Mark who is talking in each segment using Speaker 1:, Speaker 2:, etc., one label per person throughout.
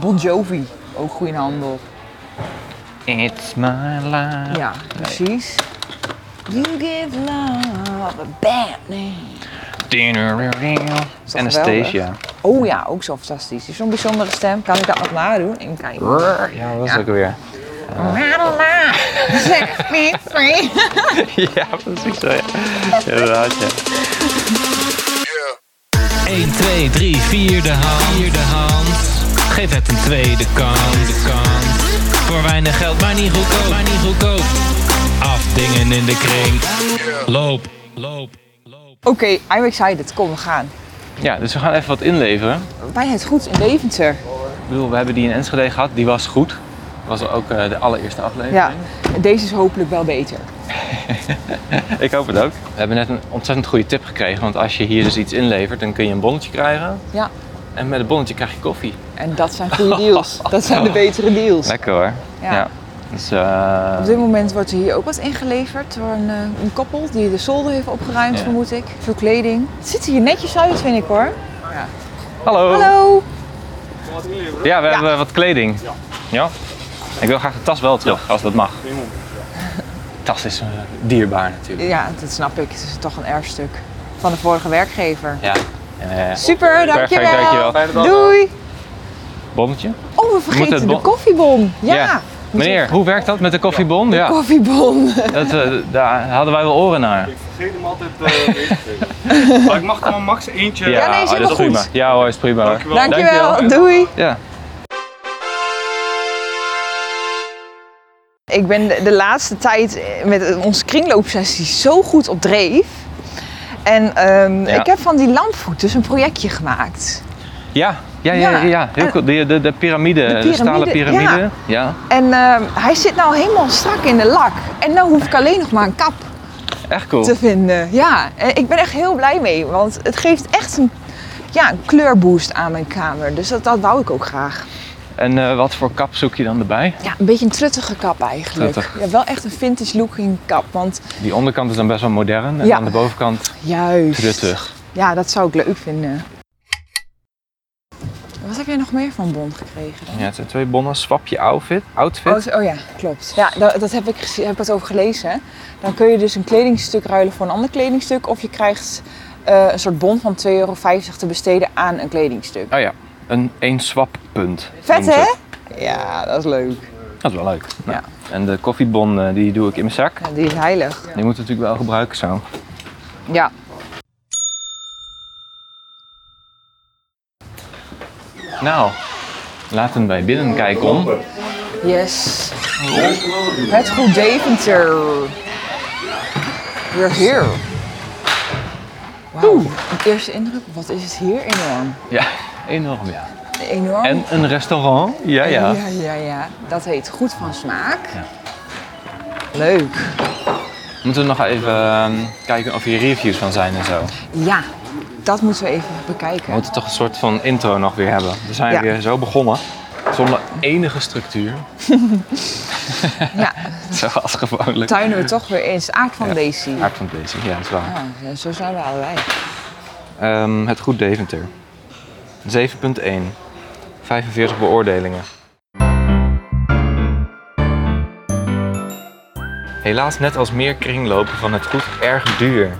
Speaker 1: Bon Jovi, ook goed in handel.
Speaker 2: It's my life.
Speaker 1: Ja, precies. You give love a bad name.
Speaker 2: Is
Speaker 1: dat
Speaker 2: Anastasia.
Speaker 1: Oh ja, ook zo fantastisch. Die Zo'n bijzondere stem. Kan ik dat nog nadoen? Even kijken.
Speaker 2: Ja, dat is ook weer.
Speaker 1: Madela, zeg niet free.
Speaker 2: ja, precies zo. Ja. Inderdaad, ja.
Speaker 3: 1, 2, 3, vierde hand. Vierde hand. Geef het een tweede kans. De kans. Voor weinig geld, maar niet goedkoop. Maar niet goedkoop. Afdingen in de kring. Loop, loop, loop.
Speaker 1: Oké, I'm excited. Kom, we gaan.
Speaker 2: Ja, dus we gaan even wat inleveren.
Speaker 1: Bij het goed in Deventer.
Speaker 2: Ik bedoel, we hebben die in Enschede gehad. Die was goed. Dat was ook eh, de allereerste aflevering.
Speaker 1: Ja, deze is hopelijk wel beter.
Speaker 2: Ik hoop het ook. We hebben net een ontzettend goede tip gekregen. Want als je hier dus iets inlevert, dan kun je een bonnetje krijgen.
Speaker 1: Ja,
Speaker 2: En met een bonnetje krijg je koffie.
Speaker 1: en dat zijn goede deals. Dat zijn de betere deals.
Speaker 2: Lekker hoor.
Speaker 1: Ja.
Speaker 2: Dus, eh,
Speaker 1: Op dit moment wordt er hier ook wat ingeleverd door een, eh, een koppel die de zolder heeft opgeruimd,
Speaker 2: Ja.
Speaker 1: vermoed ik. Veel kleding. Het ziet er hier netjes uit, vind ik hoor. Ja.
Speaker 2: Hallo.
Speaker 1: Hallo!
Speaker 2: Ja, we hebben wat kleding. Ja. Ik wil graag de tas wel terug, als dat mag. Tas is eh, dierbaar natuurlijk.
Speaker 1: Ja, dat snap ik. Het is toch een erfstuk van de vorige werkgever.
Speaker 2: Ja. Eh,
Speaker 1: Super, dankjewel.
Speaker 2: Perfect, dankjewel. Fijne dag.
Speaker 1: Doei.
Speaker 2: bonnetje?
Speaker 1: Oh, we
Speaker 2: moeten het
Speaker 1: vergeten de
Speaker 2: bon-
Speaker 1: koffiebon. Ja.
Speaker 2: Meneer, hoe werkt dat met de koffiebon? Ja.
Speaker 1: Koffiebon.
Speaker 2: Dat, eh, daar hadden wij wel oren naar.
Speaker 4: Ik vergeet hem altijd eh, mee te geven. Maar ik mag er maar max eentje.
Speaker 1: Ja, nee, is
Speaker 2: oh,
Speaker 1: helemaal
Speaker 2: prima.
Speaker 1: goed.
Speaker 2: Ja hoor, is prima hoor.
Speaker 4: Dankjewel.
Speaker 1: Dankjewel. Doei.
Speaker 2: Ja.
Speaker 1: Ik ben de, de laatste tijd met onze kringloopsessie zo goed op dreef. En ehm,
Speaker 2: Ja.
Speaker 1: ik heb van die lampvoet dus een projectje gemaakt.
Speaker 2: Ja, ja, ja, ja,
Speaker 1: Ja.
Speaker 2: ja. Heel cool. De, de, de piramide, de, stalen
Speaker 1: piramide, ja.
Speaker 2: piramide. Ja.
Speaker 1: En ehm, hij zit nou helemaal strak in de lak. En nou hoef ik alleen nog maar een kap
Speaker 2: echt cool.
Speaker 1: te vinden. Ja, en ik ben echt heel blij mee. Want het geeft echt een, ja, een kleurboost aan mijn kamer. Dus dat, dat wou ik ook graag.
Speaker 2: En eh, wat voor kap zoek je dan erbij?
Speaker 1: Ja, een beetje een truttige kap eigenlijk.
Speaker 2: Truttig.
Speaker 1: Ja, wel echt een vintage looking kap. Want
Speaker 2: Die onderkant is dan best wel modern en
Speaker 1: Ja.
Speaker 2: aan de bovenkant
Speaker 1: juist.
Speaker 2: truttig.
Speaker 1: Ja, dat zou ik leuk vinden. Wat heb jij nog meer van Bon gekregen? dan?
Speaker 2: Ja, het zijn twee bonnen, swap je outfit. outfit.
Speaker 1: Oh, zo- oh ja, klopt. Ja, dat, dat heb ik gezien- heb ik wat over gelezen. hè. Dan kun je dus een kledingstuk ruilen voor een ander kledingstuk. Of je krijgt eh, een soort bon van 2,50 euro te besteden aan een kledingstuk.
Speaker 2: Oh ja, een één swappunt.
Speaker 1: Vet
Speaker 2: noemen ze
Speaker 1: hè?
Speaker 2: het.
Speaker 1: Ja, dat is leuk.
Speaker 2: Dat is wel leuk. Nou,
Speaker 1: Ja.
Speaker 2: En de koffiebon eh, die doe ik in mijn zak.
Speaker 1: Ja, die is heilig.
Speaker 2: Die moet natuurlijk wel gebruiken zo.
Speaker 1: Ja.
Speaker 2: Nou, laten wij binnen kijken om.
Speaker 1: Yes. Het goed Deventer. We're here. Wauw. Een eerste indruk. Wat is het hier enorm?
Speaker 2: Ja, enorm ja.
Speaker 1: Enorm.
Speaker 2: En een restaurant. Ja, Oh, ja.
Speaker 1: Oh. ja, ja, ja. Dat heet Goed van Smaak. Leuk.
Speaker 2: Moeten we nog even ehm, kijken of hier reviews van zijn en zo.
Speaker 1: Ja, dat moeten we even
Speaker 2: We
Speaker 1: bekijken.
Speaker 2: moeten toch een soort van intro nog weer hebben. We zijn
Speaker 1: Ja.
Speaker 2: weer zo begonnen. Zonder enige structuur.
Speaker 1: Ja,
Speaker 2: Zoals gewoonlijk.
Speaker 1: tuinen we toch weer eens. Aard van
Speaker 2: Ja.
Speaker 1: Daisy.
Speaker 2: Aard van deze, ja, dat is waar.
Speaker 1: Ja, zo zijn we allebei.
Speaker 2: Ehm, het Goed Deventer. 7.1. 45 beoordelingen. Helaas net als meer kringlopen van het goed erg duur.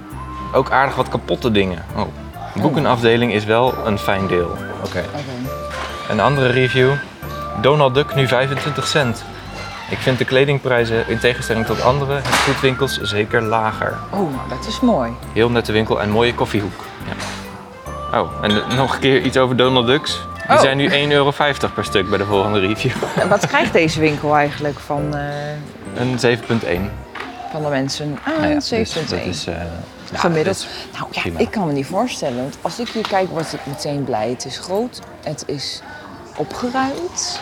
Speaker 2: Ook aardig wat kapotte dingen. Oh. Boekenafdeling is wel een fijn deel. Oké.
Speaker 1: Oké.
Speaker 2: Een andere review. Donald Duck nu 25 cent. Ik vind de kledingprijzen in tegenstelling tot andere het goed winkels zeker lager.
Speaker 1: Oh, nou, dat is mooi.
Speaker 2: Heel nette winkel en mooie koffiehoek. Ja. Oh, en eh, nog een keer iets over Donald Ducks. Die
Speaker 1: Oh.
Speaker 2: zijn nu 1,50 euro per stuk bij de volgende review.
Speaker 1: En Wat krijgt deze winkel eigenlijk van, eh,
Speaker 2: Een 7,1.
Speaker 1: van de mensen? Ah,
Speaker 2: Nou ja, dus
Speaker 1: 7.1.
Speaker 2: dat is eh, nou,
Speaker 1: Gemiddeld.
Speaker 2: dat is
Speaker 1: nou ja,
Speaker 2: prima.
Speaker 1: ik kan me niet voorstellen. Want als ik hier kijk, word ik meteen blij. Het is groot. Het is opgeruimd.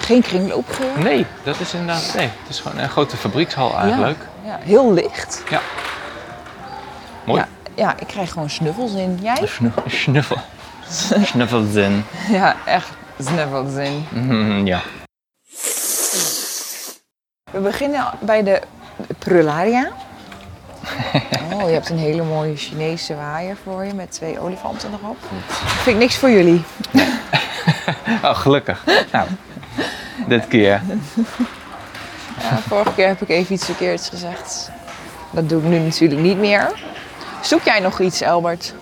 Speaker 1: Geen kringloopgeur.
Speaker 2: dus- Nee, dat is inderdaad. Nee, het is gewoon een grote fabriekshal eigenlijk.
Speaker 1: Ja, ja, heel licht.
Speaker 2: Mooi. Dus-
Speaker 1: Ja, ja, ik krijg gewoon snuffels in. Jij?
Speaker 2: Snu- Snuffel. Snuffelzin.
Speaker 1: Ja, echt snuffels in.
Speaker 2: Mhm, ja.
Speaker 1: We beginnen bij de prularia. Oh, je hebt een hele mooie Chinese waaier voor je met twee olifanten erop. Vind ik niks voor jullie.
Speaker 2: Oh, gelukkig. Nou, dit keer.
Speaker 1: Ja, vorige keer heb ik even iets verkeerds gezegd. Dat doe ik nu natuurlijk niet meer. Zoek jij nog iets, Albert?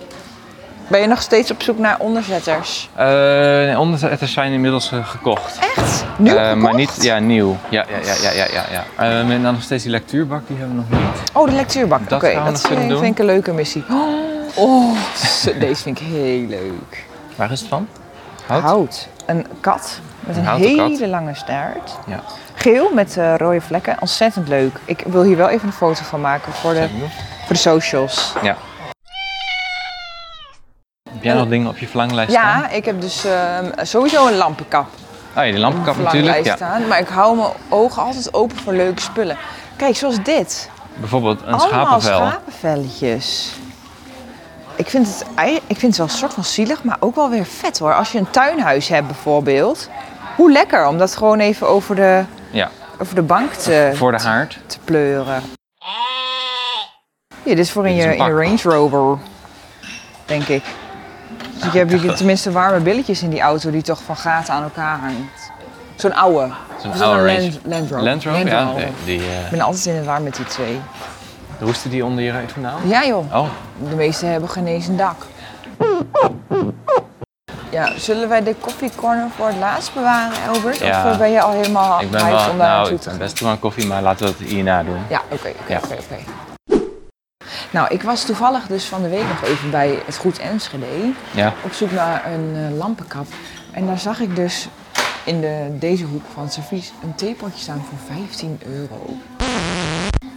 Speaker 1: Ben je nog steeds op zoek naar onderzetters?
Speaker 2: Eh, nee, onderzetters zijn inmiddels eh, gekocht.
Speaker 1: Echt? Nieuw
Speaker 2: Eh, maar
Speaker 1: gekocht?
Speaker 2: niet, ja, nieuw. Ja, ja, ja, ja, ja, ja. ja. Eh, en dan nog steeds die lectuurbak, die hebben we nog niet.
Speaker 1: Oh, de lectuurbak. Oké,
Speaker 2: Dat gaan we
Speaker 1: dat eh,
Speaker 2: nog kunnen
Speaker 1: vind,
Speaker 2: doen.
Speaker 1: vind ik een leuke missie. Oh, ze- deze vind ik heel leuk.
Speaker 2: Waar is het van?
Speaker 1: Hout.
Speaker 2: Hout?
Speaker 1: Een kat met
Speaker 2: Een
Speaker 1: een,
Speaker 2: houten
Speaker 1: hele
Speaker 2: kat.
Speaker 1: lange staart.
Speaker 2: Ja.
Speaker 1: Geel met eh, rode vlekken. Ontzettend leuk. Ik wil hier wel even een foto van maken voor de, voor de socials.
Speaker 2: Ja. Heb jij nog dingen op je verlanglijst staan?
Speaker 1: Ja, ik heb dus ehm, sowieso een lampenkap.
Speaker 2: Oh ja, die lampenkap natuurlijk.
Speaker 1: verlanglijst
Speaker 2: Ja.
Speaker 1: staan. Maar ik hou mijn ogen altijd open voor leuke spullen. Kijk, zoals dit.
Speaker 2: Bijvoorbeeld een
Speaker 1: Allemaal
Speaker 2: schapenvel.
Speaker 1: schapenvelletjes. Ik vind, het, ei- ik vind het wel een soort van zielig, maar ook wel weer vet hoor. Als je een tuinhuis hebt bijvoorbeeld. Hoe lekker om dat gewoon even over de,
Speaker 2: Ja,
Speaker 1: over de bank te,
Speaker 2: voor de haard.
Speaker 1: te pleuren. Ja, dit is voor in
Speaker 2: Dit is
Speaker 1: je,
Speaker 2: een
Speaker 1: in je
Speaker 2: pak.
Speaker 1: Range Rover, denk ik. Dus je hebt jullie tenminste warme billetjes in die auto die toch van gaten aan elkaar hangt. Zo'n oude.
Speaker 2: Zo'n
Speaker 1: Of is dat
Speaker 2: oude
Speaker 1: een
Speaker 2: Range-
Speaker 1: Land, Land Rover.
Speaker 2: Land Rover?
Speaker 1: Land
Speaker 2: Ja,
Speaker 1: Rover.
Speaker 2: nee, die
Speaker 1: Ik
Speaker 2: eh,
Speaker 1: ben altijd in het warm met die twee.
Speaker 2: roesten die onder je ruit vandaan?
Speaker 1: Ja joh,
Speaker 2: Oh,
Speaker 1: de meesten hebben geen eens een dak. Ja, zullen wij de koffiecorner voor het laatst bewaren, Albert?
Speaker 2: Ja.
Speaker 1: Of eh, ben je al helemaal
Speaker 2: ik ben
Speaker 1: hyped
Speaker 2: wel,
Speaker 1: om daar
Speaker 2: nou,
Speaker 1: naartoe
Speaker 2: ik
Speaker 1: te
Speaker 2: ben
Speaker 1: gaan?
Speaker 2: best wel aan koffie, maar laten we het hierna doen.
Speaker 1: Ja, oké, oké,
Speaker 2: Ja.
Speaker 1: oké, oké. Nou, ik was toevallig dus van de week nog even bij het Goed Enschede
Speaker 2: Ja,
Speaker 1: op zoek naar een eh, lampenkap. En daar zag ik dus in de, deze hoek van het servies een theepotje staan voor 15 euro.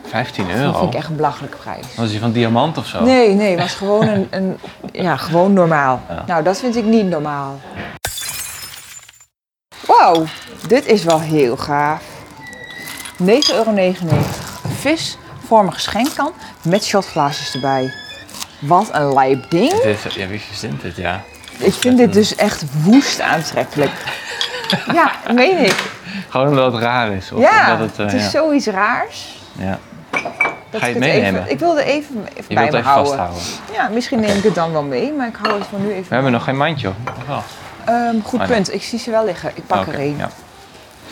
Speaker 2: 15
Speaker 1: Dat
Speaker 2: euro.
Speaker 1: vind ik echt een belachelijke prijs.
Speaker 2: Was die van diamant of zo?
Speaker 1: Nee, nee, was gewoon een, een ja, gewoon normaal.
Speaker 2: Ja.
Speaker 1: Nou, dat vind ik niet normaal. Wauw, dit is wel heel gaaf. 9,99 euro. Een visvormige schenkkan met shotglaasjes erbij. Wat een lijp ding.
Speaker 2: Dit is- ja, wie verzint dit, ja.
Speaker 1: Ik vind dit dus echt woest aantrekkelijk. Ja, meen ik.
Speaker 2: Gewoon omdat het raar is. Of
Speaker 1: Ja,
Speaker 2: omdat het, eh,
Speaker 1: het is
Speaker 2: ja.
Speaker 1: zoiets raars.
Speaker 2: ja.
Speaker 1: Dat
Speaker 2: Ga je
Speaker 1: ik
Speaker 2: het meenemen?
Speaker 1: Even, ik wilde even, even
Speaker 2: Je
Speaker 1: bij
Speaker 2: wilt
Speaker 1: me
Speaker 2: het even
Speaker 1: houden.
Speaker 2: vasthouden.
Speaker 1: Ja, misschien neem ik het dan wel mee, maar ik hou het voor nu even
Speaker 2: We hebben nog geen mandje, Oh. of of wel?
Speaker 1: Ehm, goed
Speaker 2: Ah, nee. Ah,
Speaker 1: punt. Ik zie ze wel liggen. Ik pak
Speaker 2: Oké,
Speaker 1: er één.
Speaker 2: ja.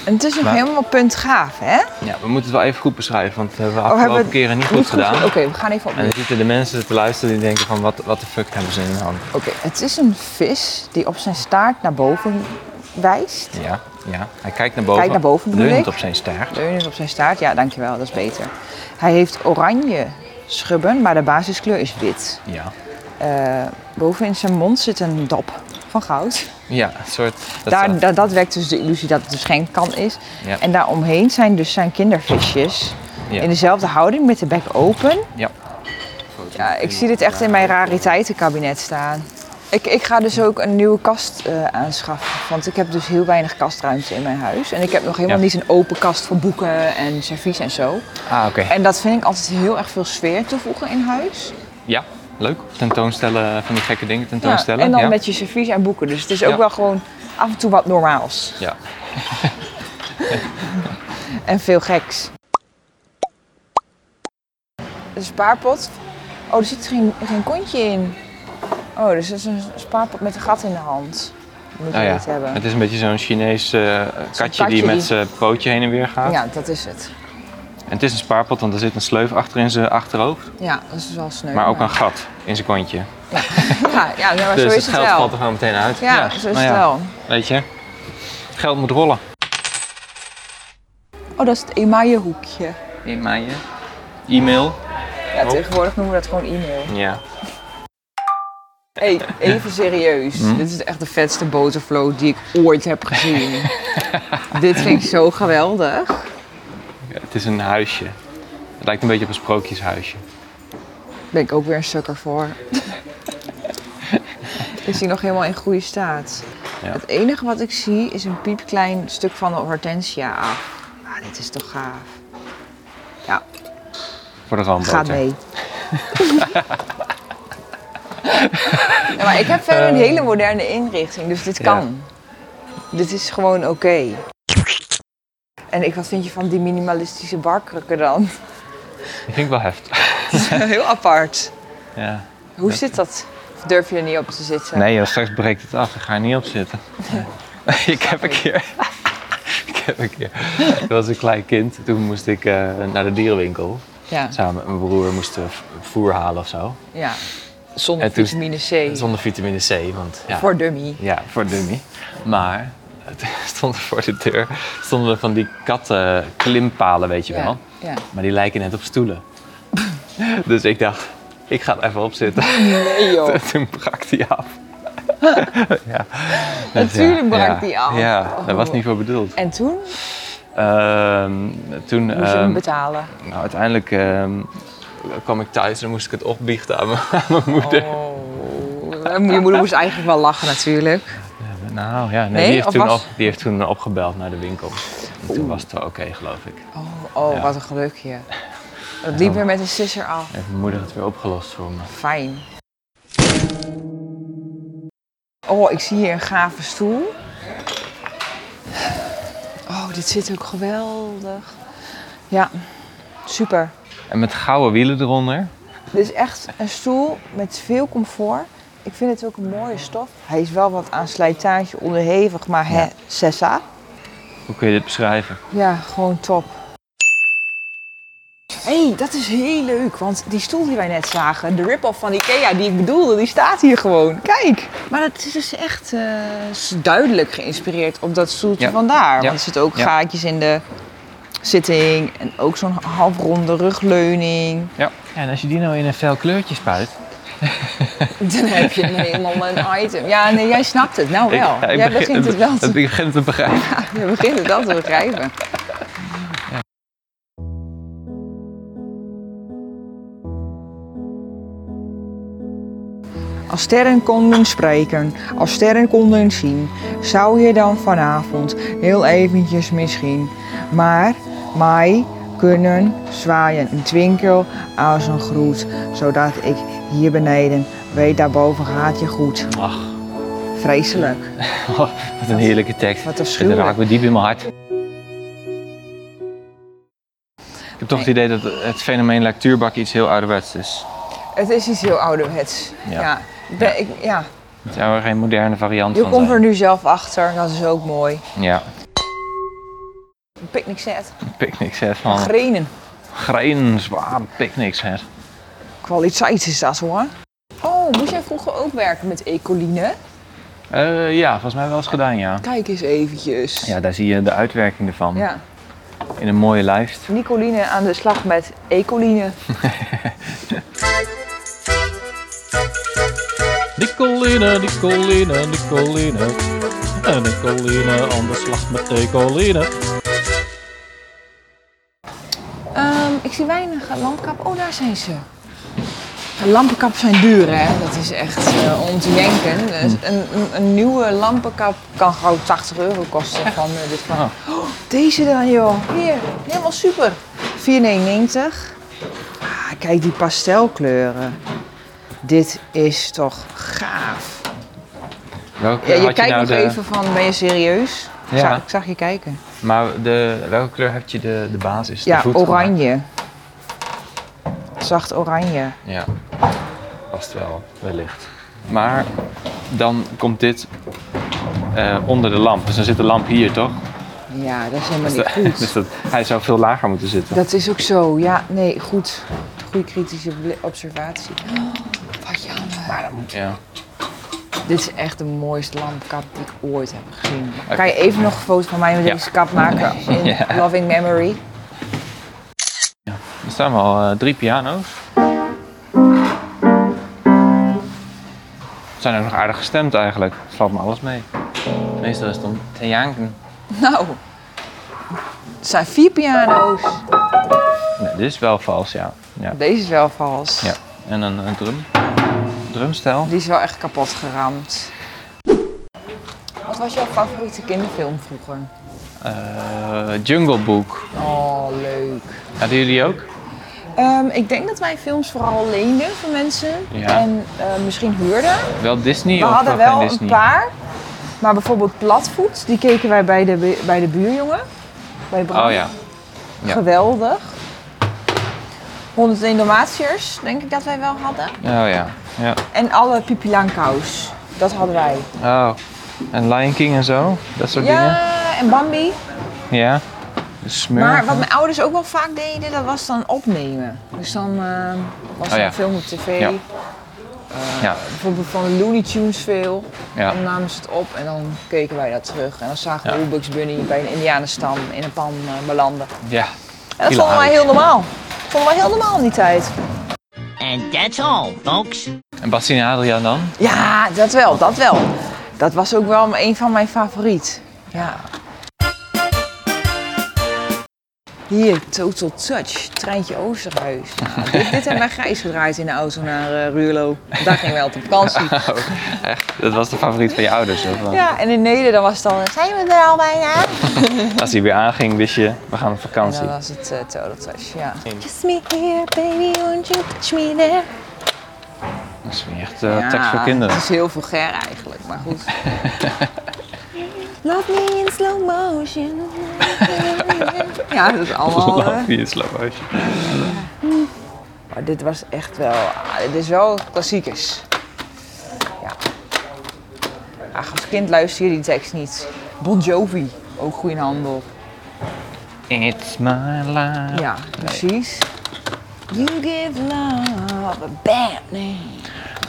Speaker 1: En het is nog
Speaker 2: Maar-
Speaker 1: helemaal puntgaaf, hè?
Speaker 2: ja, we moeten het wel even goed beschrijven, want dat hebben we
Speaker 1: Oh,
Speaker 2: afgelopen
Speaker 1: hebben we-
Speaker 2: keren niet goed gedaan.
Speaker 1: Oké, we gaan even
Speaker 2: En
Speaker 1: opnieuw.
Speaker 2: dan zitten de mensen te luisteren die denken van, wat, wat de fuck hebben ze in hun hand?
Speaker 1: Oké, het is een vis die op zijn staart naar boven wijst.
Speaker 2: Ja, ja. Hij kijkt naar boven.
Speaker 1: Kijkt naar boven, bedoel
Speaker 2: leunend
Speaker 1: ik.
Speaker 2: op zijn staart.
Speaker 1: Leunend op zijn staart. Ja, dankjewel. Dat is beter. Hij heeft oranje schubben, maar de basiskleur is wit.
Speaker 2: Ja.
Speaker 1: Eh, boven in zijn mond zit een dop van goud.
Speaker 2: Ja, een soort... Dat
Speaker 1: Daar,
Speaker 2: is-
Speaker 1: dat, dat wekt dus de illusie dat het een schenkkan is.
Speaker 2: Ja.
Speaker 1: En daaromheen zijn dus zijn kindervisjes.
Speaker 2: Ja.
Speaker 1: In dezelfde houding met de bek open.
Speaker 2: Ja.
Speaker 1: Ja, ik zie dit echt in mijn rariteitenkabinet staan. Ik, ik ga dus ook een nieuwe kast eh, aanschaffen. Want ik heb dus heel weinig kastruimte in mijn huis. En ik heb nog helemaal
Speaker 2: Ja.
Speaker 1: niet een open kast voor boeken en servies en zo.
Speaker 2: Ah, oké.
Speaker 1: En dat vind ik altijd heel erg veel sfeer toevoegen in huis.
Speaker 2: Ja, leuk. Tentoonstellen, van die gekke dingen tentoonstellen.
Speaker 1: en dan
Speaker 2: ja.
Speaker 1: met je servies en boeken. Dus het is ook
Speaker 2: Ja.
Speaker 1: wel gewoon af en toe wat normaals.
Speaker 2: Ja.
Speaker 1: En veel geks. Een spaarpot. Oh, er zit geen, geen kontje in. Oh, dus dat is een spaarpot met een gat in de hand. Dat moet je
Speaker 2: Oh ja.
Speaker 1: niet hebben.
Speaker 2: Het is een beetje zo'n Chinees eh, katje, die
Speaker 1: katje
Speaker 2: met
Speaker 1: die-
Speaker 2: zijn pootje heen en weer gaat.
Speaker 1: Ja, dat is het.
Speaker 2: En het is een spaarpot, want er zit een sleuf achter in zijn achterhoofd.
Speaker 1: Ja, dat is wel sneu.
Speaker 2: Maar ook een gat in zijn kontje.
Speaker 1: Ja, ja nou, maar
Speaker 2: dus
Speaker 1: zo
Speaker 2: het
Speaker 1: is het,
Speaker 2: geld
Speaker 1: wel.
Speaker 2: valt er gewoon meteen uit.
Speaker 1: Ja, zo is
Speaker 2: nou
Speaker 1: het
Speaker 2: ja,
Speaker 1: wel.
Speaker 2: Weet je, geld moet rollen.
Speaker 1: Oh, dat is het emaille hoekje.
Speaker 2: In maaien. E-mail.
Speaker 1: Ja,
Speaker 2: Oh.
Speaker 1: tegenwoordig noemen we dat gewoon e-mail.
Speaker 2: Ja.
Speaker 1: Hey, even serieus.
Speaker 2: Hm?
Speaker 1: Dit is echt de vetste boterfloat die ik ooit heb gezien. Dit vind ik zo geweldig.
Speaker 2: Ja, Het is een huisje. Het lijkt een beetje op een sprookjeshuisje.
Speaker 1: ben ik ook weer een sukker voor. is die nog helemaal in goede staat?
Speaker 2: Ja.
Speaker 1: Het enige wat ik zie is een piepklein stuk van de hortensia af. Ah, dit is toch gaaf. Ja,
Speaker 2: Voor de ramboter.
Speaker 1: gaat mee. ja, maar ik heb verder
Speaker 2: Eh.
Speaker 1: een hele moderne inrichting, dus dit kan. Dit is gewoon oké. En ik, wat vind je van die minimalistische barkrukken dan?
Speaker 2: Die vind ik wel heftig.
Speaker 1: Heel apart.
Speaker 2: Ja.
Speaker 1: Hoe zit dat? Of durf je er niet op te zitten?
Speaker 2: Nee, joh, straks breekt het af. Daar ga je niet op zitten. ik heb een keer. ik heb een keer. Toen was ik een klein kind. Toen moest ik eh, naar de dierenwinkel.
Speaker 1: Ja,
Speaker 2: Samen met mijn broer moesten we v- voer halen of zo.
Speaker 1: ja. Zonder
Speaker 2: En toen-
Speaker 1: vitamine C.
Speaker 2: Zonder vitamine C, want ja,
Speaker 1: Voor dummy.
Speaker 2: ja, voor dummy. Maar het stond voor de deur stonden er van die katten klimpalen, weet je
Speaker 1: Ja,
Speaker 2: wel.
Speaker 1: ja.
Speaker 2: Maar die lijken net op stoelen. dus ik dacht, ik ga er even op zitten.
Speaker 1: Nee joh.
Speaker 2: Toen brak die af. ja. Dus
Speaker 1: Natuurlijk
Speaker 2: Ja,
Speaker 1: brak
Speaker 2: ja,
Speaker 1: die af.
Speaker 2: Ja, dat was
Speaker 1: Oh.
Speaker 2: niet voor bedoeld.
Speaker 1: En toen
Speaker 2: Ehm, toen,
Speaker 1: moest je
Speaker 2: ehm,
Speaker 1: hem betalen.
Speaker 2: nou, uiteindelijk ehm, kwam ik thuis en dan moest ik het opbiechten aan mijn, aan mijn moeder.
Speaker 1: Oh. Je moeder moest eigenlijk wel lachen natuurlijk.
Speaker 2: Nou ja, nee,
Speaker 1: Nee,
Speaker 2: die, heeft
Speaker 1: of
Speaker 2: toen
Speaker 1: was-
Speaker 2: op, die heeft toen opgebeld naar de winkel. En toen was het wel oké, geloof ik.
Speaker 1: Oh, oh
Speaker 2: Ja.
Speaker 1: wat een gelukje. Dat liep weer met een sisser af.
Speaker 2: Heeft mijn moeder het weer opgelost voor me.
Speaker 1: Fijn. Oh, ik zie hier een gave stoel. Oh, dit zit ook geweldig. Ja, super.
Speaker 2: En met gouden wielen eronder.
Speaker 1: Dit is echt een stoel met veel comfort. Ik vind het ook een mooie stof. Hij is wel wat aan slijtage onderhevig, maar hè, Sessa.
Speaker 2: Hoe kun je dit beschrijven?
Speaker 1: Ja, gewoon top. Hé, hey, dat is heel leuk, want die stoel die wij net zagen, de rip-off van Ikea die ik bedoelde, die staat hier gewoon. Kijk! Maar dat is dus echt eh, is duidelijk geïnspireerd op dat stoeltje
Speaker 2: Ja.
Speaker 1: van daar. Want
Speaker 2: Ja.
Speaker 1: er zitten ook
Speaker 2: Ja.
Speaker 1: gaatjes in de zitting en ook zo'n halfronde rugleuning.
Speaker 2: Ja. En als je die nou in een fel kleurtje spuit.
Speaker 1: Dan heb je helemaal een item. Ja, nee, jij snapt het nou wel. jij begint het wel te,
Speaker 2: Ik begin te begrijpen.
Speaker 1: jij begint het wel te begrijpen. Als sterren konden spreken, als sterren konden zien, zou je dan vanavond heel eventjes misschien, maar mij kunnen zwaaien, een twinkel als een groet, zodat ik hier beneden weet, daarboven gaat je goed.
Speaker 2: Ach, oh,
Speaker 1: Vreselijk.
Speaker 2: wat een heerlijke tekst.
Speaker 1: Wat
Speaker 2: Dit
Speaker 1: afschuwelijk.
Speaker 2: raakt me diep in mijn hart. Ik heb toch het idee dat het fenomeen lectuurbak iets heel ouderwets is.
Speaker 1: Het is iets heel ouderwets. Ja.
Speaker 2: Ja.
Speaker 1: Ik ben- ik- ja.
Speaker 2: Het zou er geen moderne variant
Speaker 1: Je
Speaker 2: van
Speaker 1: komt er
Speaker 2: zijn.
Speaker 1: nu zelf achter, dat is ook mooi.
Speaker 2: Ja,
Speaker 1: Een picnic set.
Speaker 2: een picnic set van
Speaker 1: Grenen.
Speaker 2: Geen zwaar picnic set.
Speaker 1: Kwaliteit is dat hoor. Oh, moest jij vroeger ook werken met ecoline?
Speaker 2: Eh, ja, volgens mij wel eens gedaan, ja.
Speaker 1: Kijk eens eventjes.
Speaker 2: Ja, daar zie je de uitwerking ervan.
Speaker 1: Ja.
Speaker 2: In een mooie lijst.
Speaker 1: Nicoline aan de slag met ecoline.
Speaker 3: Nicoline, Nicoline, Nicoline. En Nicoline aan de slag met Nicoline.
Speaker 1: Ehm, ik zie weinig lampenkap. Oh, daar zijn ze. Lampenkap zijn duur, hè? Dat is echt eh, om te denken. Dus
Speaker 2: Hm.
Speaker 1: een, een, een nieuwe lampenkap kan gauw 80 euro kosten. Van, eh, dit van.
Speaker 2: Ah.
Speaker 1: Oh, deze dan, joh. Hier, helemaal super. 4,99. Ah, kijk die pastelkleuren. Dit is toch gaaf. Ja,
Speaker 2: Welke kleur
Speaker 1: je
Speaker 2: had
Speaker 1: kijkt
Speaker 2: je nou
Speaker 1: nog
Speaker 2: de...
Speaker 1: even van, ben je serieus? Ik
Speaker 2: Ja.
Speaker 1: zag- ik zag je kijken.
Speaker 2: Maar de, welke kleur heb je de, de basis? de
Speaker 1: Ja,
Speaker 2: voet gemaakt?
Speaker 1: oranje. Zacht oranje.
Speaker 2: Ja, past wel, wellicht. Maar dan komt dit eh, onder de lamp. Dus dan zit de lamp hier, toch?
Speaker 1: Ja, dat is helemaal
Speaker 2: Dus,
Speaker 1: niet
Speaker 2: dat-
Speaker 1: goed.
Speaker 2: dus dat, hij zou veel lager moeten zitten.
Speaker 1: Dat is ook zo, ja. Nee, goed. Goede kritische bl- observatie. Oh, wat jammer.
Speaker 2: Maar dat moet... Ja.
Speaker 1: Dit is echt de mooiste lampkap die ik ooit heb gezien. Kan je even nog een foto van mij met
Speaker 2: Ja.
Speaker 1: deze kap maken? In
Speaker 2: Ja.
Speaker 1: loving memory.
Speaker 2: Er staan wel eh, drie piano's. Ze zijn ook nog aardig gestemd eigenlijk. Het valt me alles mee. Meestal is het om te janken.
Speaker 1: Nou, het zijn vier piano's.
Speaker 2: Nee, dit is wel vals, ja. ja.
Speaker 1: Deze is wel vals.
Speaker 2: ja. En een, een drum. Drumstijl.
Speaker 1: Die is wel echt kapot geramd. Wat was jouw favoriete kinderfilm vroeger?
Speaker 2: Eh, Jungle Book.
Speaker 1: Oh, leuk.
Speaker 2: Hadden jullie ook?
Speaker 1: Ehm, ik denk dat wij films vooral leenden van mensen.
Speaker 2: Ja.
Speaker 1: En eh, misschien huurden.
Speaker 2: Wel Disney
Speaker 1: We
Speaker 2: of
Speaker 1: hadden
Speaker 2: geen
Speaker 1: wel een
Speaker 2: Disney?
Speaker 1: paar. Maar bijvoorbeeld Platvoet, die keken wij bij de, bu- bij de buurjongen. Bij Bram.
Speaker 2: Oh ja. ja.
Speaker 1: Geweldig. 101 Dalmatiërs, denk ik dat wij wel hadden.
Speaker 2: Oh ja. ja.
Speaker 1: En alle Pipi Langkous. Dat hadden wij.
Speaker 2: Oh. En Lion King en zo, dat soort dingen.
Speaker 1: Ja, en Bambi.
Speaker 2: Ja. De smurf.
Speaker 1: Maar wat mijn ouders ook wel vaak deden, dat was dan opnemen. Dus dan eh, was er
Speaker 2: Oh ja.
Speaker 1: een film op tv.
Speaker 2: Ja. ja.
Speaker 1: Bijvoorbeeld van de Looney Tunes veel.
Speaker 2: Ja.
Speaker 1: Dan namen ze het op en dan keken wij dat terug. En dan zagen we
Speaker 2: Ja.
Speaker 1: hoe Bugs Bunny bij een indianenstam in een pan eh, belanden.
Speaker 2: ja.
Speaker 1: En dat vonden wij heel normaal. Dat vonden wij heel normaal in die tijd.
Speaker 5: And that's all, folks.
Speaker 2: En Bastien en Adriaan dan?
Speaker 1: Ja, dat wel, dat wel. Dat was ook wel een van mijn favoriet. Ja. Hier, Total Touch, treintje Oosterhuis. Nou, dit, dit hebben wij grijs gedraaid in de auto naar eh Ruurlo. Daar gingen we altijd op vakantie.
Speaker 2: Echt? Dat was de favoriet van je ouders? Of? wat?
Speaker 1: Ja, en in Nederland was het dan, zijn we er al bijna?
Speaker 2: Als hij weer aanging, wist je, we gaan op
Speaker 1: En
Speaker 2: vakantie.
Speaker 1: dan was het eh, Total Touch, ja.
Speaker 6: Kiss me here, baby, won't you touch me there?
Speaker 2: Dat is niet echt eh,
Speaker 1: ja,
Speaker 2: tekst voor kinderen.
Speaker 1: Het is heel vulgair eigenlijk, maar goed.
Speaker 6: Love me in slow motion.
Speaker 1: Ja, dat is allemaal... eh,
Speaker 2: Love you, slow motion.
Speaker 1: Maar dit was echt wel, ah, dit is wel klassiekers. Ja. Ach, als kind luister je die tekst niet. Bon Jovi, ook goede handel.
Speaker 2: It's my life.
Speaker 1: Ja, precies. You give love a bad name.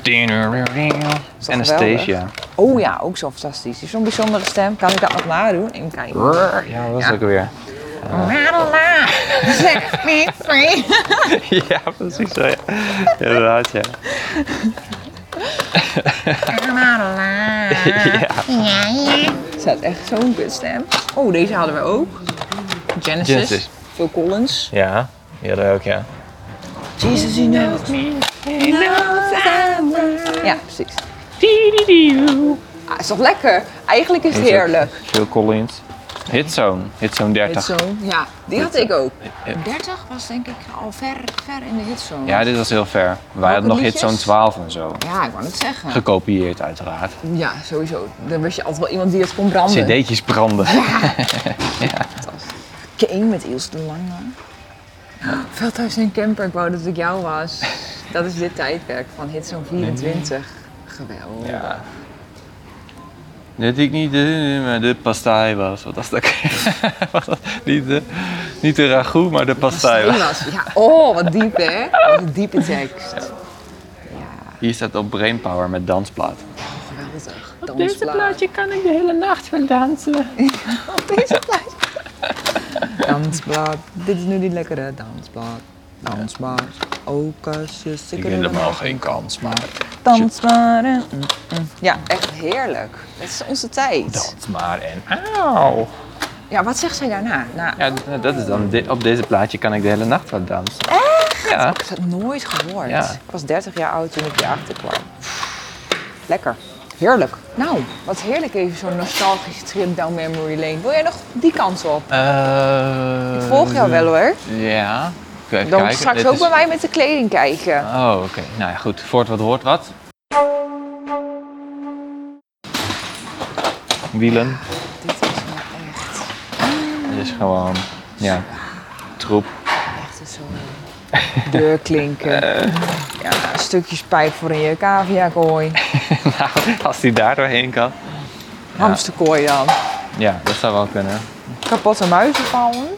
Speaker 2: Is
Speaker 1: toch
Speaker 2: Anastasia.
Speaker 1: Oh ja, ook zo fantastisch. Die heeft Zo'n bijzondere stem. Kan ik dat nog nadoen? Even kijken.
Speaker 2: Ja, dat was ook weer.
Speaker 1: Madonna, set me free.
Speaker 2: ja, precies zo. Ja. Inderdaad, ja.
Speaker 1: Madonna. Is dat echt zo'n kutstem? Oh, deze hadden we ook. Genesis.
Speaker 2: Genesis.
Speaker 1: Phil Collins.
Speaker 2: Ja, die hadden we ook, ja.
Speaker 1: Jesus, he knows me. Ja, precies. Ah, is toch lekker? Eigenlijk is het
Speaker 2: Is ook
Speaker 1: heerlijk.
Speaker 2: Phil Collins. Hitzone. Hitzone 30.
Speaker 1: Hitzone, ja. Die had ik ook. 30 was denk ik al ver, ver in de hitzone.
Speaker 2: Ja, dit was heel ver. Wij
Speaker 1: Welke
Speaker 2: hadden nog
Speaker 1: liedjes?
Speaker 2: Hitzone 12 en zo.
Speaker 1: Ja, ik wou het zeggen.
Speaker 2: Gekopieerd, uiteraard.
Speaker 1: Ja, sowieso. Dan was je altijd wel iemand die het kon branden.
Speaker 2: CD'tjes branden.
Speaker 1: Kane met Ilse de Lange. Veldhuis en Camper, ik wou dat ik jou was. Dat is dit tijdperk van hitzone 24. Geweldig.
Speaker 2: Ja. Net ik niet de, maar de pastei was. Wat was dat? Was dat niet, de, niet de ragout, maar de pastei was.
Speaker 1: Strijlas. Ja, oh, wat diep hè? Wat een diepe tekst.
Speaker 2: Hier staat op Brainpower met dansplaat.
Speaker 1: Geweldig. Dansplaat.
Speaker 7: kan ik de hele nacht wel dansen.
Speaker 1: Op deze plaatje. Dansblad. Dit is nu die lekkere dansblad. Dansblad. Ook als je
Speaker 2: Ik
Speaker 1: zeker
Speaker 2: heb helemaal geen kans, maar
Speaker 1: Dansbaren. Mm, mm. Ja, echt heerlijk. Dat is onze tijd.
Speaker 2: dans maar en auw.
Speaker 1: Ja, wat zegt zij daarna? Nou,
Speaker 2: Ja, d- dat is dan. dit- op deze plaatje kan ik de hele nacht wat dansen. Echt? Ja.
Speaker 1: ik heb dat nooit gehoord.
Speaker 2: Ja.
Speaker 1: Ik was 30 jaar oud toen ik hierachter kwam. Lekker. Heerlijk. Nou, wat heerlijk even zo'n nostalgische trip down memory lane. Wil jij nog die kant op?
Speaker 2: Eh,
Speaker 1: Ik volg jou wel hoor.
Speaker 2: Ja. Ik wil even
Speaker 1: Dan
Speaker 2: kijken.
Speaker 1: straks
Speaker 2: Eh, Dit
Speaker 1: ook
Speaker 2: is-
Speaker 1: bij mij met de kleding kijken.
Speaker 2: Oh, oké. Nou ja, goed. Voort wat hoort wat. Wielen.
Speaker 1: Dit is nou echt,
Speaker 2: Het is gewoon, ja, troep.
Speaker 1: echt een zo'n deurklinken.
Speaker 2: Eh.
Speaker 1: Ja, stukjes pijp voor in je caviakooi.
Speaker 2: nou, als die daar doorheen kan.
Speaker 1: Hamsterkooi dan.
Speaker 2: Ja, dat zou wel kunnen.
Speaker 1: Kapotte muizenvallen.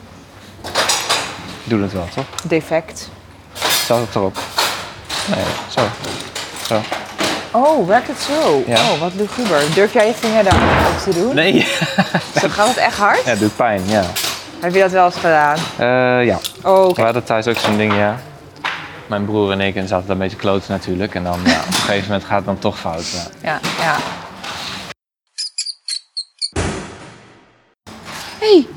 Speaker 2: Doe het wel, toch?
Speaker 1: Defect.
Speaker 2: Staat het erop? Nee, zo. Zo.
Speaker 1: Oh, werkt het zo?
Speaker 2: Ja.
Speaker 1: Oh, wat luguber. Durf jij je vinger daar op te doen?
Speaker 2: Nee.
Speaker 1: Zo gaat het echt hard?
Speaker 2: Ja, doet pijn, ja.
Speaker 1: Heb je dat wel eens gedaan?
Speaker 2: Eh, ja.
Speaker 1: Oh, oké.
Speaker 2: We hadden thuis ook zo'n ding, ja. Mijn broer en ik en zaten daar een beetje kloten natuurlijk. En dan, ja, op een gegeven moment gaat het dan toch fout. Ja.
Speaker 1: Ja, ja. hey,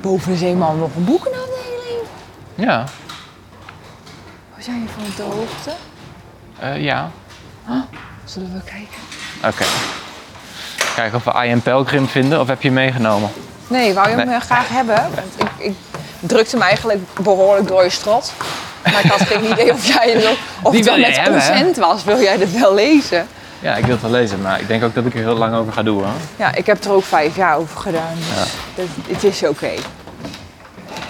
Speaker 1: boven de zeeman nog een boekenafdeling.
Speaker 2: Ja.
Speaker 1: Was jij van de hoogte?
Speaker 2: Eh, ja.
Speaker 1: Zullen we kijken?
Speaker 2: Oké. Kijken of we I.M. Pelgrim vinden of heb je hem meegenomen?
Speaker 1: Nee, wou je hem
Speaker 2: Nee.
Speaker 1: eh, graag hebben? Want ik, ik drukte hem eigenlijk behoorlijk door je strot. Maar ik had geen idee of jij het ook- of
Speaker 2: Die
Speaker 1: het wel
Speaker 2: wil jij
Speaker 1: met
Speaker 2: hebben, hè?
Speaker 1: consent was. Wil jij dit wel lezen?
Speaker 2: Ja, ik wil het wel lezen, maar ik denk ook dat ik er heel lang over ga doen hoor.
Speaker 1: Ja, ik heb er ook vijf jaar over gedaan. Dus dat- het is oké.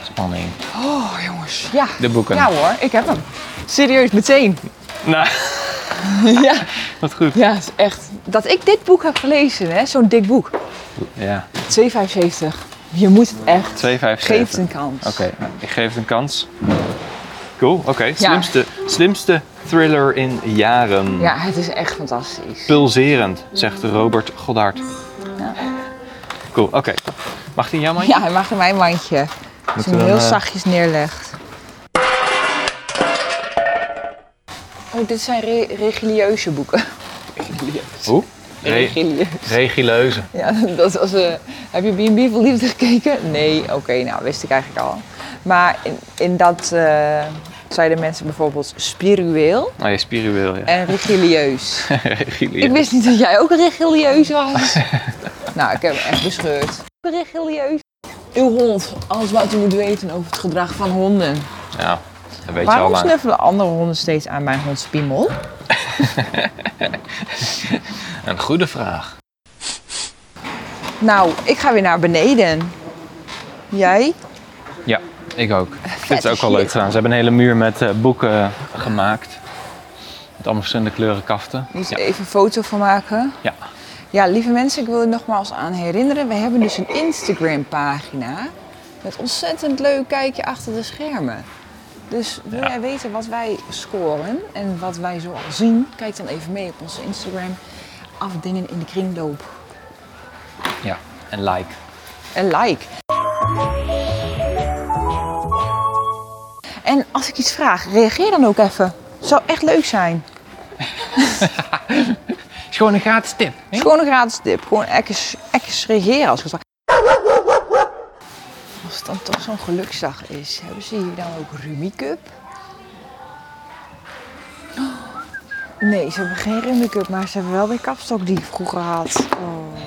Speaker 2: Spanning.
Speaker 1: Oh jongens, ja.
Speaker 2: De boeken.
Speaker 1: Ja hoor, ik heb hem. Serieus, meteen.
Speaker 2: Nou,
Speaker 1: ja.
Speaker 2: Wat goed.
Speaker 1: Ja, is echt. Dat ik dit boek heb gelezen, hè, zo'n dik boek.
Speaker 2: Ja,
Speaker 1: 2,75. Je moet het echt.
Speaker 2: 2,75.
Speaker 1: Geef het een kans.
Speaker 2: Oké, nou, ik geef het een kans. Cool, oké.
Speaker 1: Ja.
Speaker 2: Slimste, slimste thriller in jaren.
Speaker 1: Ja, het is echt fantastisch.
Speaker 2: Pulserend, zegt Robert Goddard. Cool, oké. Mag die in jouw mandje?
Speaker 1: Ja, hij mag in mijn mandje. Als
Speaker 2: Moeten
Speaker 1: je hem
Speaker 2: we dan,
Speaker 1: heel
Speaker 2: eh,
Speaker 1: zachtjes neerlegt. Oh, dit zijn re- religieuze boeken.
Speaker 2: Hoe? Re-
Speaker 1: Religieus.
Speaker 2: Regieleuze.
Speaker 1: Ja, dat was... eh, heb je B&B voor Liefde gekeken? Nee, oké, nou, wist ik eigenlijk al. Maar in, in dat eh, zeiden mensen bijvoorbeeld spiritueel
Speaker 2: Oh, je spiritueel, ja.
Speaker 1: en religieus.
Speaker 2: Regieleuze.
Speaker 1: Ik wist niet dat jij ook religieus was. nou, ik heb hem echt bescheurd. Religieus. Uw hond, alles wat u moet weten over het gedrag van honden.
Speaker 2: Ja, dat weet je
Speaker 1: Waarom
Speaker 2: al eh, lang.
Speaker 1: snuffelen andere honden steeds aan mijn hond Spiemel?
Speaker 2: Een goede vraag.
Speaker 1: Nou, ik ga weer naar beneden. Jij?
Speaker 2: Ja, ik ook. Dit is ook wel
Speaker 1: shit.
Speaker 2: leuk gedaan. Ze hebben een hele muur met eh, boeken gemaakt. Met allemaal verschillende kleuren kaften.
Speaker 1: Moet
Speaker 2: Ja.
Speaker 1: er even een foto van maken.
Speaker 2: Ja.
Speaker 1: Ja, lieve mensen, ik wil er nogmaals aan herinneren. We hebben dus een Instagram-pagina. Met ontzettend leuk kijkje achter de schermen. Dus wil jij weten wat wij scoren en wat wij zoal zien? Kijk dan even mee op onze Instagram. Afdingen in de kringloop.
Speaker 2: ja, en like.
Speaker 1: En like. En als ik iets vraag, reageer dan ook even. Zou echt leuk zijn.
Speaker 2: is gewoon een gratis tip.
Speaker 1: Het is gewoon een gratis tip. Gewoon ekkers, ekkers reageren als ik het Als het dan toch zo'n geluksdag is, hebben ze hier dan ook Rummy Cup? Oh, Nee, ze hebben geen Rummy Cup, maar ze hebben wel de kapstok die ik vroeger had. Oh.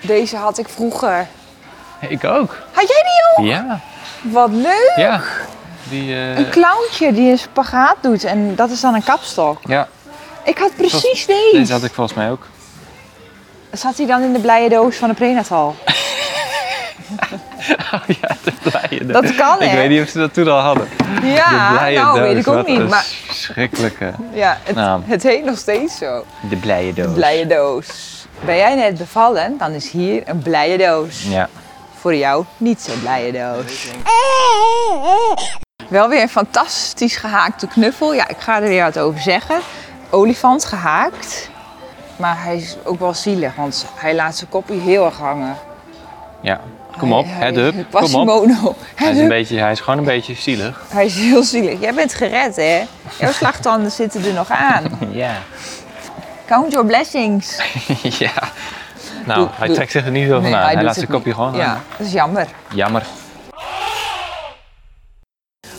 Speaker 1: Deze had ik vroeger.
Speaker 2: Ik ook.
Speaker 1: Had jij die ook?
Speaker 2: Ja,
Speaker 1: Wat leuk!
Speaker 2: ja. Die, eh,
Speaker 1: Een clowntje die een spagaat doet en dat is dan een kapstok.
Speaker 2: ja,
Speaker 1: Ik had precies
Speaker 2: deze had ik volgens mij ook.
Speaker 1: Zat hij dan in de blije doos van de prenatal?
Speaker 2: ja, de blije
Speaker 1: Dat kan,
Speaker 2: Ik
Speaker 1: hè?
Speaker 2: weet niet of ze dat toen al hadden. de
Speaker 1: Ja,
Speaker 2: blije
Speaker 1: nou
Speaker 2: doos,
Speaker 1: weet ik ook
Speaker 2: wat Nou.
Speaker 1: niet.
Speaker 2: een
Speaker 1: Maar
Speaker 2: Schrikkelijke.
Speaker 1: ja, het,
Speaker 2: naam.
Speaker 1: het heet nog steeds zo.
Speaker 2: De blije doos.
Speaker 1: Blije doos. Ben jij net bevallen, dan is hier een blije doos.
Speaker 2: Ja.
Speaker 1: Voor jou niet zo'n blije doos. Wel weer een fantastisch gehaakte knuffel. Ja, ik ga er weer wat over zeggen. Olifant gehaakt. Maar hij is ook wel zielig, want hij laat zijn kopje heel erg hangen.
Speaker 2: ja. Kom op,
Speaker 1: Hij-
Speaker 2: head
Speaker 1: hij-
Speaker 2: up. Kom op.
Speaker 1: Quasimodo.
Speaker 2: Hij is,
Speaker 1: Head
Speaker 2: een
Speaker 1: up.
Speaker 2: beetje, hij is gewoon een beetje zielig.
Speaker 1: Hij is heel zielig. Jij bent gered, hè? Jouw slagtanden zitten er nog aan.
Speaker 2: Ja.
Speaker 1: Count your blessings.
Speaker 2: ja. Nou,
Speaker 1: Doe-
Speaker 2: hij
Speaker 1: doe-
Speaker 2: trekt zich er niet zo van aan. Hij, laat zijn kopje gewoon
Speaker 1: Ja,
Speaker 2: aan.
Speaker 1: dat is jammer.
Speaker 2: Jammer.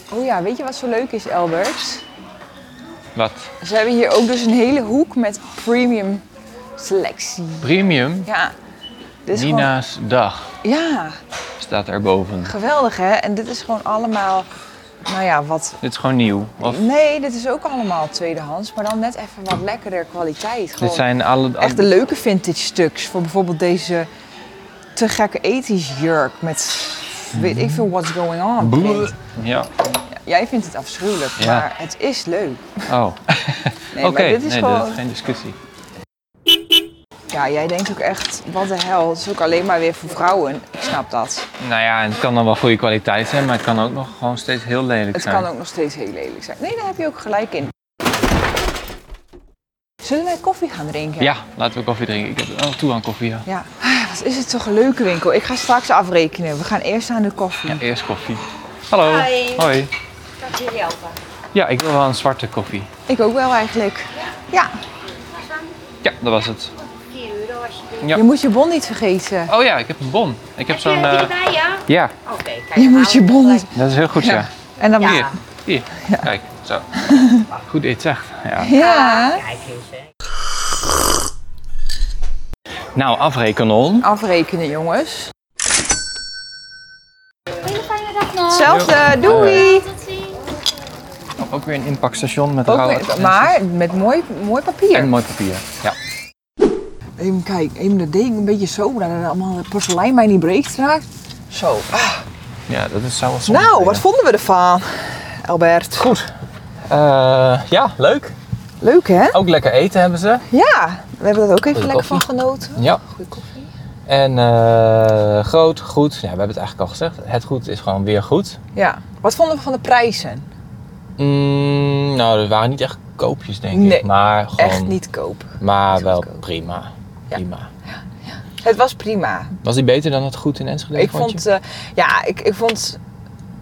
Speaker 1: Oh ja, weet je wat zo leuk is, Elbert?
Speaker 2: Wat?
Speaker 1: Ze hebben hier ook dus een hele hoek met premium selectie.
Speaker 2: Premium
Speaker 1: Ja. Dit is
Speaker 2: Nina's dag
Speaker 1: gewoon... Ja,
Speaker 2: staat erboven.
Speaker 1: geweldig hè? En dit is gewoon allemaal... Nou ja, wat...
Speaker 2: Dit is gewoon nieuw. Of
Speaker 1: Nee, dit is ook allemaal tweedehands, maar dan net even wat lekkerder kwaliteit. Gewoon
Speaker 2: dit zijn alle...
Speaker 1: echt de leuke vintage stuks. Voor bijvoorbeeld deze te gekke ethisch jurk met... Weet ik veel what's going on. print.
Speaker 2: Ja.
Speaker 1: Jij vindt het afschuwelijk,
Speaker 2: Ja.
Speaker 1: maar het is leuk.
Speaker 2: Oh.
Speaker 1: Nee,
Speaker 2: Oké.
Speaker 1: maar dit is
Speaker 2: nee,
Speaker 1: gewoon...
Speaker 2: dat is geen discussie.
Speaker 1: Ja, jij denkt ook echt, wat de hel, het is ook alleen maar weer voor vrouwen. Ik snap dat.
Speaker 2: Nou ja, en het kan dan wel goede kwaliteit zijn, maar het kan ook nog gewoon steeds heel lelijk
Speaker 1: Het
Speaker 2: zijn.
Speaker 1: kan ook nog steeds heel lelijk zijn. Nee, daar heb je ook gelijk in. Zullen wij koffie gaan drinken?
Speaker 2: Ja, laten we koffie drinken. Ik heb wel toe aan koffie, ja.
Speaker 1: Ja. Ah, Wat is het toch een leuke winkel. Ik ga straks afrekenen. We gaan eerst aan de koffie.
Speaker 2: Ja, eerst koffie. Hallo. Hoi. Hoi. Kan ik jullie helpen? Ja, ik wil wel een zwarte koffie.
Speaker 1: Ik ook wel eigenlijk. Ja.
Speaker 2: Ja, dat was het. Ja.
Speaker 1: Je moet je bon niet vergeten.
Speaker 2: Oh ja, ik heb een bon. Ik heb zo'n... eh, ja,
Speaker 1: Je moet je bon niet...
Speaker 2: dat is heel goed, ja.
Speaker 1: En dan...
Speaker 2: Hier, hier. Kijk, zo. Goed dit zegt. Ja.
Speaker 1: Ja.
Speaker 2: Nou, afrekenen.
Speaker 1: Afrekenen, jongens. Hetzelfde. Doei.
Speaker 2: Ook weer een inpakstation met
Speaker 1: Ook
Speaker 2: rauwe
Speaker 1: met-
Speaker 2: advertenties.
Speaker 1: maar met mooi, mooi papier.
Speaker 2: En mooi papier. Ja.
Speaker 1: Even kijken, even dat ding een beetje zo, dat het allemaal porselein mij niet breekt straks. Zo.
Speaker 2: Ja, dat is zo wat
Speaker 1: Nou, wat vonden we ervan, Albert? Goed.
Speaker 2: Eh, ja, leuk.
Speaker 1: Leuk hè?
Speaker 2: Ook lekker eten hebben ze.
Speaker 1: Ja, we hebben daar ook even
Speaker 2: Goeie
Speaker 1: lekker van genoten.
Speaker 2: Ja.
Speaker 1: Goeie koffie.
Speaker 2: En eh, groot, goed. Ja, we hebben het eigenlijk al gezegd. Het goed is gewoon weer goed.
Speaker 1: Ja. Wat vonden we van de prijzen?
Speaker 2: Mm, nou, er waren niet echt koopjes, denk
Speaker 1: Nee,
Speaker 2: ik. Maar gewoon,
Speaker 1: Echt niet koop.
Speaker 2: Maar
Speaker 1: niet
Speaker 2: wel
Speaker 1: goedkoop.
Speaker 2: prima.
Speaker 1: Ja.
Speaker 2: prima.
Speaker 1: Het was prima.
Speaker 2: Was die beter dan het goed in Enschede?
Speaker 1: Ik
Speaker 2: vond je?
Speaker 1: vond, eh, ja, ik, ik vond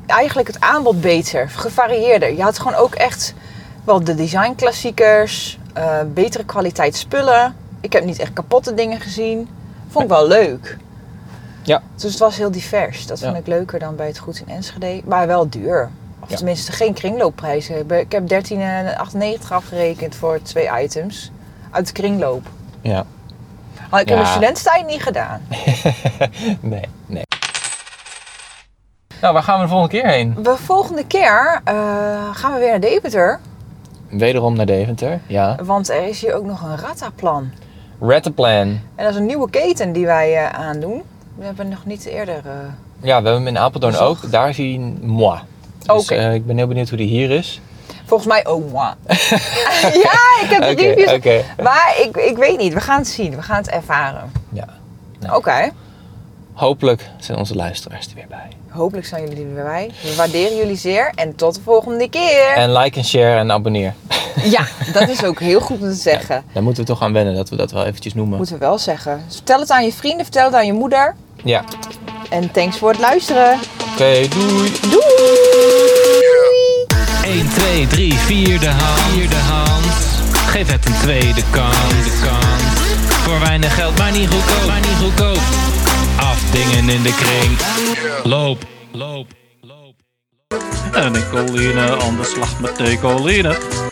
Speaker 1: eigenlijk het aanbod beter, gevarieerder. Je had gewoon ook echt wel de designklassiekers, eh betere kwaliteit spullen. Ik heb niet echt kapotte dingen gezien. Vond ik wel leuk.
Speaker 2: Ja.
Speaker 1: Dus het was heel divers. Dat
Speaker 2: Ja.
Speaker 1: vond ik leuker dan bij het Goed in Enschede. Maar wel duur. Of
Speaker 2: Ja.
Speaker 1: tenminste geen kringloopprijzen. Ik ben- Ik heb 13,98 afgerekend voor twee items uit de kringloop.
Speaker 2: Ja.
Speaker 1: Had ik in mijn
Speaker 2: Ja.
Speaker 1: studententijd niet gedaan.
Speaker 2: Nee, nee. Nou, waar gaan we de volgende keer heen?
Speaker 1: De volgende keer eh, gaan we weer naar Deventer.
Speaker 2: Wederom naar Deventer. Ja.
Speaker 1: Want er is hier ook nog een Rattaplan.
Speaker 2: Rattenplan.
Speaker 1: En dat is een nieuwe keten die wij eh, aandoen. We hebben nog niet eerder. eh,
Speaker 2: Ja, we hebben hem in Apeldoorn
Speaker 1: Bezocht.
Speaker 2: ook. Daar zie je moi. Dus
Speaker 1: Oké.
Speaker 2: eh, ik ben heel benieuwd hoe die hier is.
Speaker 1: volgens mij ook moi. ja, ik heb de
Speaker 2: Oké,
Speaker 1: reviews.
Speaker 2: oké.
Speaker 1: Maar ik, ik weet niet. We gaan het zien. We gaan het ervaren.
Speaker 2: Ja.
Speaker 1: Oké.
Speaker 2: Hopelijk zijn onze luisteraars er weer bij.
Speaker 1: Hopelijk zijn jullie er weer bij. We waarderen jullie zeer. En tot de volgende keer.
Speaker 2: En like en share en abonneer.
Speaker 1: Ja, dat is ook heel goed om te zeggen.
Speaker 2: Daar moeten we toch aan wennen dat we dat wel eventjes noemen.
Speaker 1: Moeten we wel zeggen. Dus vertel het aan je vrienden. Vertel het aan je moeder.
Speaker 2: Ja.
Speaker 1: En thanks voor het luisteren.
Speaker 2: Oké, doei.
Speaker 3: 1, 2, 3, 4 de hand. Vierde hand. Geef het een tweede kans. De kans. Voor weinig geld, maar niet goedkoop. Maar niet goedkoop. Afdingen in de kring. Loop, loop, loop.
Speaker 4: En ik coline, anders slacht met decoline.